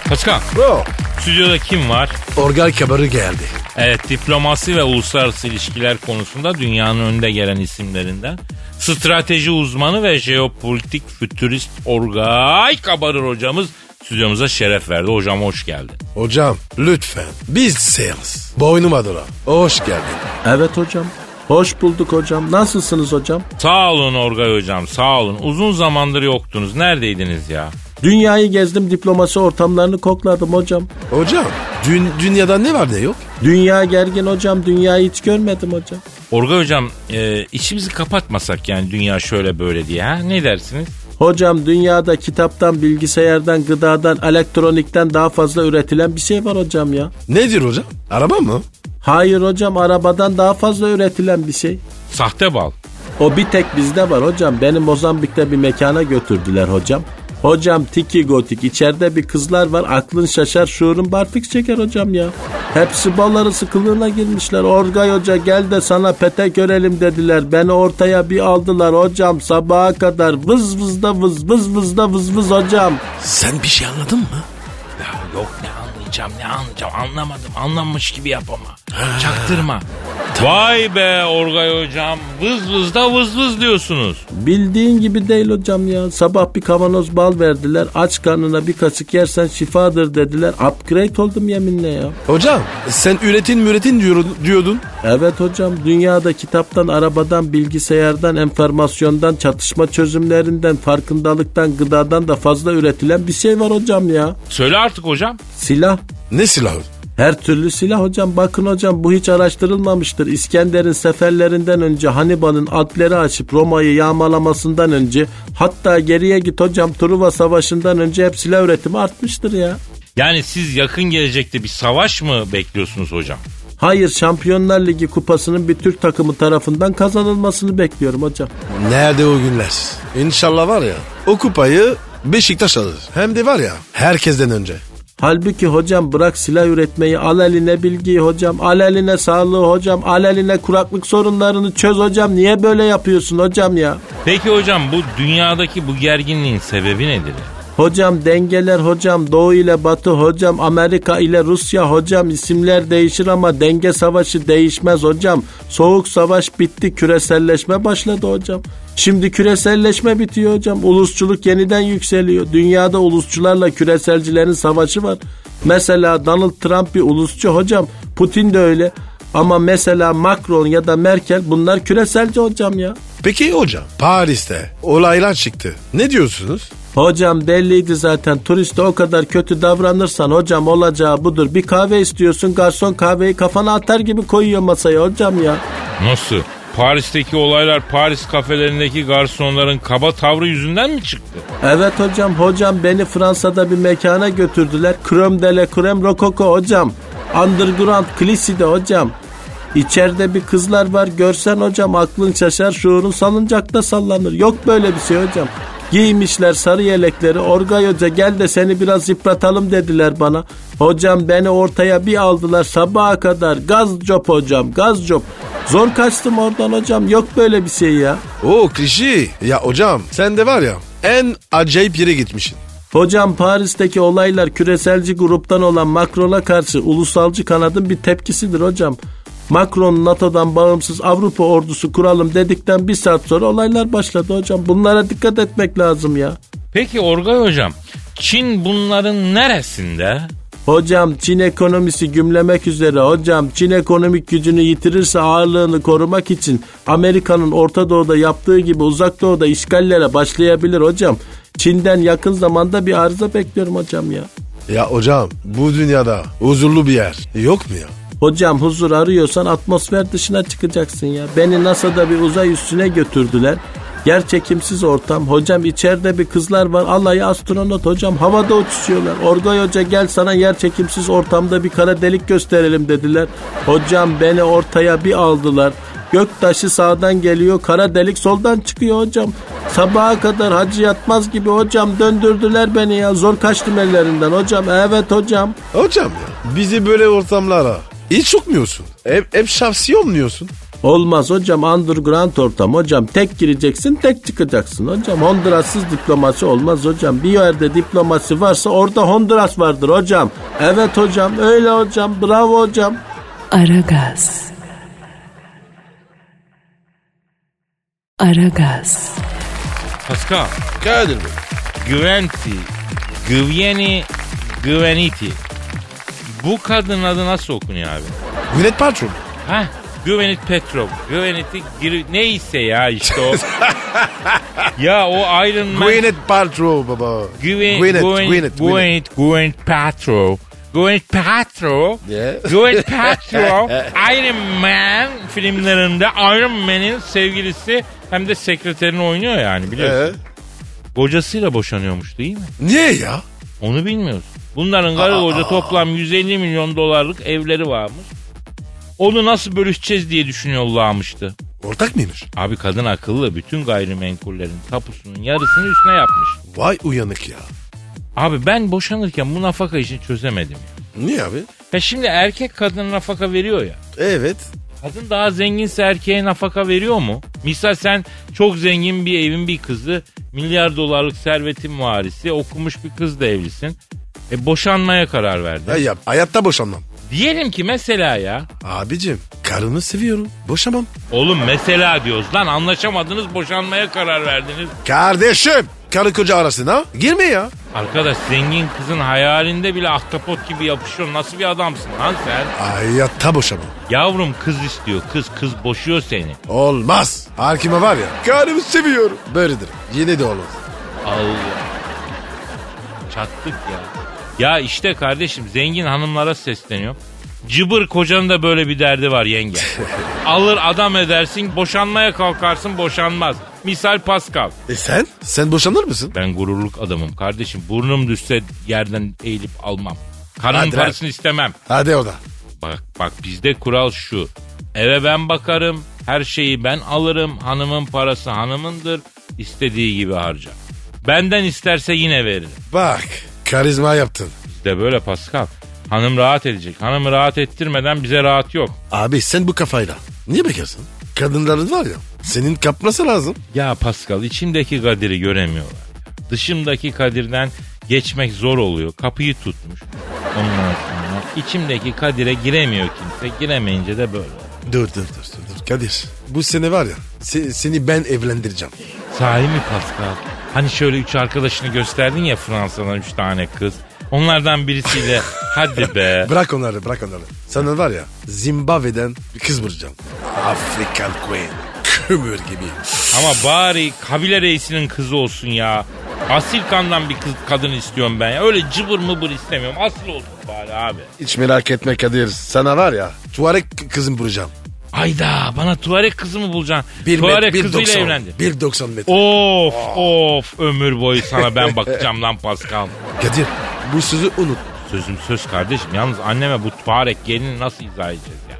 [SPEAKER 2] Paskal
[SPEAKER 3] Bro.
[SPEAKER 2] stüdyoda kim var?
[SPEAKER 3] Orgal kabarı geldi.
[SPEAKER 2] Evet diplomasi ve uluslararası ilişkiler konusunda dünyanın önde gelen isimlerinden. Strateji uzmanı ve jeopolitik fütürist Orgay Kabarır hocamız stüdyomuza şeref verdi. Hocam hoş geldin.
[SPEAKER 3] Hocam lütfen biz sales. Boynum adına. Hoş geldin.
[SPEAKER 5] Evet hocam. Hoş bulduk hocam. Nasılsınız hocam?
[SPEAKER 2] Sağ olun Orgay hocam sağ olun. Uzun zamandır yoktunuz. Neredeydiniz ya?
[SPEAKER 5] Dünyayı gezdim diplomasi ortamlarını kokladım hocam.
[SPEAKER 3] Hocam dün, dünyada ne var ne yok?
[SPEAKER 5] Dünya gergin hocam. Dünyayı hiç görmedim hocam.
[SPEAKER 2] Orgay hocam e, içimizi kapatmasak yani dünya şöyle böyle diye ha? Ne dersiniz?
[SPEAKER 5] Hocam dünyada kitaptan, bilgisayardan, gıdadan, elektronikten daha fazla üretilen bir şey var hocam ya.
[SPEAKER 3] Nedir hocam? Araba mı?
[SPEAKER 5] Hayır hocam arabadan daha fazla üretilen bir şey.
[SPEAKER 2] Sahte bal.
[SPEAKER 5] O bir tek bizde var hocam. Beni Mozambik'te bir mekana götürdüler hocam. Hocam tiki gotik içeride bir kızlar var aklın şaşar şuurun barfik çeker hocam ya. Hepsi bal arası kılığına girmişler. Orgay hoca gel de sana pete görelim dediler. Beni ortaya bir aldılar hocam sabaha kadar vız vız da vız vız vız da vız vız hocam.
[SPEAKER 3] Sen bir şey anladın mı?
[SPEAKER 2] Ya yok ne anlayacağım ne anlayacağım anlamadım anlamış gibi yapama. Çaktırma. Vay be Orgay hocam vız vız da vız vız diyorsunuz.
[SPEAKER 5] Bildiğin gibi değil hocam ya. Sabah bir kavanoz bal verdiler. Aç karnına bir kaşık yersen şifadır dediler. Upgrade oldum yeminle ya.
[SPEAKER 3] Hocam sen üretin müretin diyordun. diyordun.
[SPEAKER 5] Evet hocam dünyada kitaptan, arabadan, bilgisayardan, enformasyondan, çatışma çözümlerinden, farkındalıktan, gıdadan da fazla üretilen bir şey var hocam ya.
[SPEAKER 2] Söyle artık hocam.
[SPEAKER 5] Silah.
[SPEAKER 3] Ne silahı?
[SPEAKER 5] Her türlü silah hocam. Bakın hocam bu hiç araştırılmamıştır. İskender'in seferlerinden önce Hannibal'ın alpleri açıp Roma'yı yağmalamasından önce hatta geriye git hocam Truva Savaşı'ndan önce hep silah üretimi artmıştır ya.
[SPEAKER 2] Yani siz yakın gelecekte bir savaş mı bekliyorsunuz hocam?
[SPEAKER 5] Hayır Şampiyonlar Ligi kupasının bir Türk takımı tarafından kazanılmasını bekliyorum hocam.
[SPEAKER 3] Nerede o günler? İnşallah var ya o kupayı Beşiktaş alır. Hem de var ya herkesten önce.
[SPEAKER 5] Halbuki hocam bırak silah üretmeyi al eline bilgiyi hocam al eline sağlığı hocam al eline kuraklık sorunlarını çöz hocam niye böyle yapıyorsun hocam ya?
[SPEAKER 2] Peki hocam bu dünyadaki bu gerginliğin sebebi nedir?
[SPEAKER 5] Hocam dengeler hocam doğu ile batı hocam Amerika ile Rusya hocam isimler değişir ama denge savaşı değişmez hocam. Soğuk savaş bitti küreselleşme başladı hocam. Şimdi küreselleşme bitiyor hocam. Ulusçuluk yeniden yükseliyor. Dünyada ulusçularla küreselcilerin savaşı var. Mesela Donald Trump bir ulusçu hocam. Putin de öyle. Ama mesela Macron ya da Merkel bunlar küreselci hocam ya.
[SPEAKER 3] Peki hocam Paris'te olaylar çıktı. Ne diyorsunuz?
[SPEAKER 5] Hocam belliydi zaten turiste o kadar kötü davranırsan hocam olacağı budur. Bir kahve istiyorsun garson kahveyi kafana atar gibi koyuyor masaya hocam ya.
[SPEAKER 2] Nasıl? Paris'teki olaylar Paris kafelerindeki garsonların kaba tavrı yüzünden mi çıktı?
[SPEAKER 5] Evet hocam hocam beni Fransa'da bir mekana götürdüler. Creme de la creme rokoko hocam. Underground kliside hocam. İçeride bir kızlar var görsen hocam aklın şaşar şuurun salıncakta sallanır. Yok böyle bir şey hocam. Giymişler sarı yelekleri Orgay Hoca gel de seni biraz yıpratalım dediler bana. Hocam beni ortaya bir aldılar sabaha kadar gaz cop hocam gaz cop. Zor kaçtım oradan hocam yok böyle bir şey ya.
[SPEAKER 3] O klişi. Ya hocam sen de var ya en acayip yere gitmişsin.
[SPEAKER 5] Hocam Paris'teki olaylar küreselci gruptan olan Macron'a karşı ulusalcı kanadın bir tepkisidir hocam. Macron NATO'dan bağımsız Avrupa ordusu kuralım dedikten bir saat sonra olaylar başladı hocam. Bunlara dikkat etmek lazım ya.
[SPEAKER 2] Peki Orgay hocam Çin bunların neresinde?
[SPEAKER 5] Hocam Çin ekonomisi gümlemek üzere. Hocam Çin ekonomik gücünü yitirirse ağırlığını korumak için Amerika'nın Orta Doğu'da yaptığı gibi Uzak Doğu'da işgallere başlayabilir hocam. Çin'den yakın zamanda bir arıza bekliyorum hocam ya.
[SPEAKER 3] Ya hocam bu dünyada huzurlu bir yer yok mu ya?
[SPEAKER 5] Hocam huzur arıyorsan atmosfer dışına çıkacaksın ya. Beni NASA'da bir uzay üstüne götürdüler. Yer çekimsiz ortam. Hocam içeride bir kızlar var. Allah'ı astronot hocam havada uçuşuyorlar. Orgay Hoca gel sana yer çekimsiz ortamda bir kara delik gösterelim dediler. Hocam beni ortaya bir aldılar. Gök taşı sağdan geliyor, kara delik soldan çıkıyor hocam. Sabaha kadar hacı yatmaz gibi hocam döndürdüler beni ya. Zor kaçtım ellerinden hocam. Evet hocam.
[SPEAKER 3] Hocam ya bizi böyle ortamlara hiç sokmuyorsun. Hep, hep şahsi olmuyorsun.
[SPEAKER 5] Olmaz hocam underground ortam hocam tek gireceksin tek çıkacaksın hocam Honduras'sız diplomasi olmaz hocam bir yerde diplomasi varsa orada Honduras vardır hocam evet hocam öyle hocam bravo hocam
[SPEAKER 1] Aragaz. Aragaz.
[SPEAKER 2] Pascal,
[SPEAKER 3] Kadir Bey.
[SPEAKER 2] Güventi, Güveni, Güveniti. Bu kadının adı nasıl okunuyor abi?
[SPEAKER 3] Millet patron.
[SPEAKER 2] Hah, Güvenit Petrov, Güveniti, Gir- neyse ya işte o. ya o Iron Man...
[SPEAKER 3] Gwyneth Paltrow baba.
[SPEAKER 2] Güven,
[SPEAKER 3] Gwyneth,
[SPEAKER 2] Gwyneth,
[SPEAKER 3] Gwyneth, Gwyneth.
[SPEAKER 2] Gwyneth, Gwyneth Paltrow. Gwyneth Paltrow.
[SPEAKER 3] Yeah.
[SPEAKER 2] Gwyneth Paltrow. Iron Man filmlerinde Iron Man'in sevgilisi hem de sekreterini oynuyor yani biliyorsun.
[SPEAKER 3] Ee,
[SPEAKER 2] Kocasıyla boşanıyormuş değil mi?
[SPEAKER 3] niye ya?
[SPEAKER 2] Onu bilmiyoruz. Bunların karı koca toplam 150 milyon dolarlık evleri varmış. Onu nasıl bölüşeceğiz diye düşünüyorlarmıştı.
[SPEAKER 3] Ortak mıymış?
[SPEAKER 2] Abi kadın akıllı bütün gayrimenkullerin tapusunun yarısını üstüne yapmış.
[SPEAKER 3] Vay uyanık ya.
[SPEAKER 2] Abi ben boşanırken bu nafaka işini çözemedim. Ya.
[SPEAKER 3] Niye abi?
[SPEAKER 2] Ya şimdi erkek kadına nafaka veriyor ya.
[SPEAKER 3] Evet.
[SPEAKER 2] Kadın daha zenginse erkeğe nafaka veriyor mu? Misal sen çok zengin bir evin bir kızı, milyar dolarlık servetin varisi, okumuş bir kızla evlisin. E boşanmaya karar verdin.
[SPEAKER 3] Ya, ya hayatta boşanmam.
[SPEAKER 2] Diyelim ki mesela ya.
[SPEAKER 3] Abicim karımı seviyorum. Boşamam.
[SPEAKER 2] Oğlum mesela diyoruz lan anlaşamadınız boşanmaya karar verdiniz.
[SPEAKER 3] Kardeşim. Karı koca arasına girme ya.
[SPEAKER 2] Arkadaş zengin kızın hayalinde bile ahtapot gibi yapışıyor. Nasıl bir adamsın lan sen?
[SPEAKER 3] Hayatta boşamam.
[SPEAKER 2] Yavrum kız istiyor. Kız kız boşuyor seni.
[SPEAKER 3] Olmaz. Hakime var ya. Karımı seviyorum. Böyledir. Yine de olmaz.
[SPEAKER 2] Allah. Çattık ya. Ya işte kardeşim zengin hanımlara sesleniyorum. Cıbır kocanın da böyle bir derdi var yenge. Alır adam edersin boşanmaya kalkarsın boşanmaz. Misal Pascal.
[SPEAKER 3] E sen? Sen boşanır mısın?
[SPEAKER 2] Ben gururluk adamım kardeşim. Burnum düşse yerden eğilip almam. Karının
[SPEAKER 3] Hadi lan.
[SPEAKER 2] parasını istemem.
[SPEAKER 3] Hadi o da.
[SPEAKER 2] Bak bak bizde kural şu. Eve ben bakarım. Her şeyi ben alırım. Hanımın parası hanımındır. İstediği gibi harcar. Benden isterse yine veririm.
[SPEAKER 3] Bak. Karizma yaptın.
[SPEAKER 2] Bizde böyle Pascal. Hanım rahat edecek. Hanımı rahat ettirmeden bize rahat yok.
[SPEAKER 3] Abi sen bu kafayla. Niye bekarsın? Kadınların var ya. Senin kapması lazım.
[SPEAKER 2] Ya Pascal içimdeki Kadir'i göremiyorlar. Dışımdaki Kadir'den geçmek zor oluyor. Kapıyı tutmuş. Ondan sonra içimdeki Kadir'e giremiyor kimse. Giremeyince de böyle.
[SPEAKER 3] Dur dur dur dur. dur. Kadir. Bu sene var ya. se- seni ben evlendireceğim.
[SPEAKER 2] Sahi mi Pascal? Hani şöyle üç arkadaşını gösterdin ya Fransa'dan üç tane kız. Onlardan birisiyle hadi be.
[SPEAKER 3] Bırak onları bırak onları. Sana var ya Zimbabwe'den bir kız bulacağım. African Queen. Kömür gibi.
[SPEAKER 2] Ama bari kabile reisinin kızı olsun ya. Asil kandan bir kız, kadın istiyorum ben ya. Öyle cıbır mıbır istemiyorum. Asil olsun bari abi.
[SPEAKER 3] Hiç merak etme Kadir. Sana var ya Tuareg k- kızım bulacağım.
[SPEAKER 2] Ayda bana tuvalet kızı mı bulacaksın?
[SPEAKER 3] Bir met-
[SPEAKER 2] tuvalet
[SPEAKER 3] bir
[SPEAKER 2] kızıyla
[SPEAKER 3] 90,
[SPEAKER 2] evlendi.
[SPEAKER 3] 1.90 metre.
[SPEAKER 2] Of of ömür boyu sana ben bakacağım lan Pascal.
[SPEAKER 3] Kadir bu sözü unut.
[SPEAKER 2] Sözüm söz kardeşim. Yalnız anneme bu tuarek gelini nasıl izah edeceğiz ya?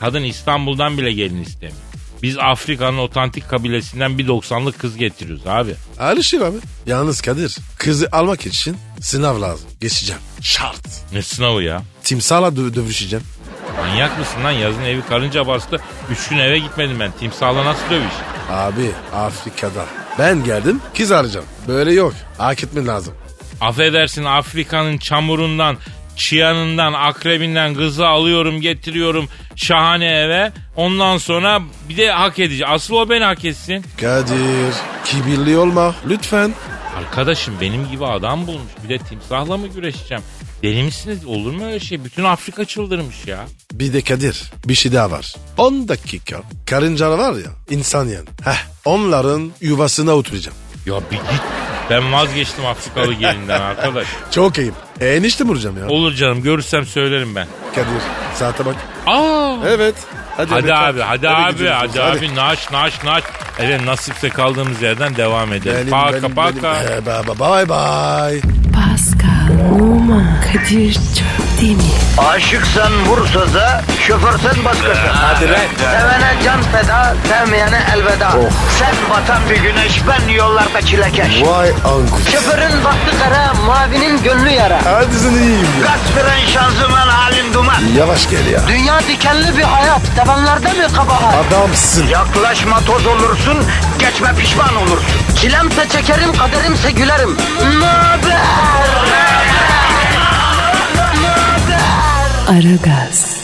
[SPEAKER 2] Kadın İstanbul'dan bile gelin istemiyor. Biz Afrika'nın otantik kabilesinden bir 90'lık kız getiriyoruz abi.
[SPEAKER 3] Alışır abi. şey Yalnız Kadir kızı almak için sınav lazım. Geçeceğim. Şart.
[SPEAKER 2] Ne sınavı ya?
[SPEAKER 3] Timsahla dö- dövüşeceğim.
[SPEAKER 2] Manyak mısın lan? Yazın evi karınca bastı. Üç gün eve gitmedim ben. Timsahla nasıl dövüş?
[SPEAKER 3] Abi Afrika'da. Ben geldim kız arayacağım. Böyle yok. Hak etmen lazım.
[SPEAKER 2] Affedersin Afrika'nın çamurundan, çiyanından, akrebinden kızı alıyorum getiriyorum şahane eve. Ondan sonra bir de hak edici. Asıl o beni hak etsin.
[SPEAKER 3] Kadir kibirli olma lütfen.
[SPEAKER 2] Arkadaşım benim gibi adam bulmuş. Bir de timsahla mı güreşeceğim? Deli misiniz? Olur mu öyle şey? Bütün Afrika çıldırmış ya.
[SPEAKER 3] Bir de Kadir bir şey daha var. 10 dakika karıncalar var ya insan yani. Heh, onların yuvasına oturacağım.
[SPEAKER 2] Ya bir git. Ben vazgeçtim Afrikalı gelinden arkadaş.
[SPEAKER 3] Çok ayıp. E, enişte mi vuracağım ya?
[SPEAKER 2] Olur canım görürsem söylerim ben.
[SPEAKER 3] Kadir saate bak.
[SPEAKER 2] Aa
[SPEAKER 3] Evet.
[SPEAKER 2] Hadi
[SPEAKER 3] Mete,
[SPEAKER 2] abi, hadi, abi,
[SPEAKER 3] gidiyoruz.
[SPEAKER 2] hadi, abi. Naş, naş, naş. Evet nasipse kaldığımız yerden devam edelim.
[SPEAKER 3] Benim,
[SPEAKER 2] paka
[SPEAKER 3] benim,
[SPEAKER 2] paka.
[SPEAKER 3] benim. Ee, ba- ba- Bye bye.
[SPEAKER 1] Pascal, Oman, Kadir çok değil mi?
[SPEAKER 6] Aşıksan vursa da, şoförsen başkasın. Hadi Sevene can feda, sevmeyene elveda. Sen batan bir güneş, ben yollarda çilekeş.
[SPEAKER 3] Vay anku.
[SPEAKER 6] Şoförün baktı kara, mavinin gönlü yara.
[SPEAKER 3] Hadi sen iyiyim ya.
[SPEAKER 6] Kasperen şanzıman halin duman.
[SPEAKER 3] Yavaş gel ya.
[SPEAKER 6] Dünya dikenli bir hayat, sevenlerde mi kabahar?
[SPEAKER 3] Adamsın.
[SPEAKER 6] Yaklaşma toz olursun, geçme pişman olursun. Çilemse çekerim, kaderimse gülerim. Möber!
[SPEAKER 1] Aragaz.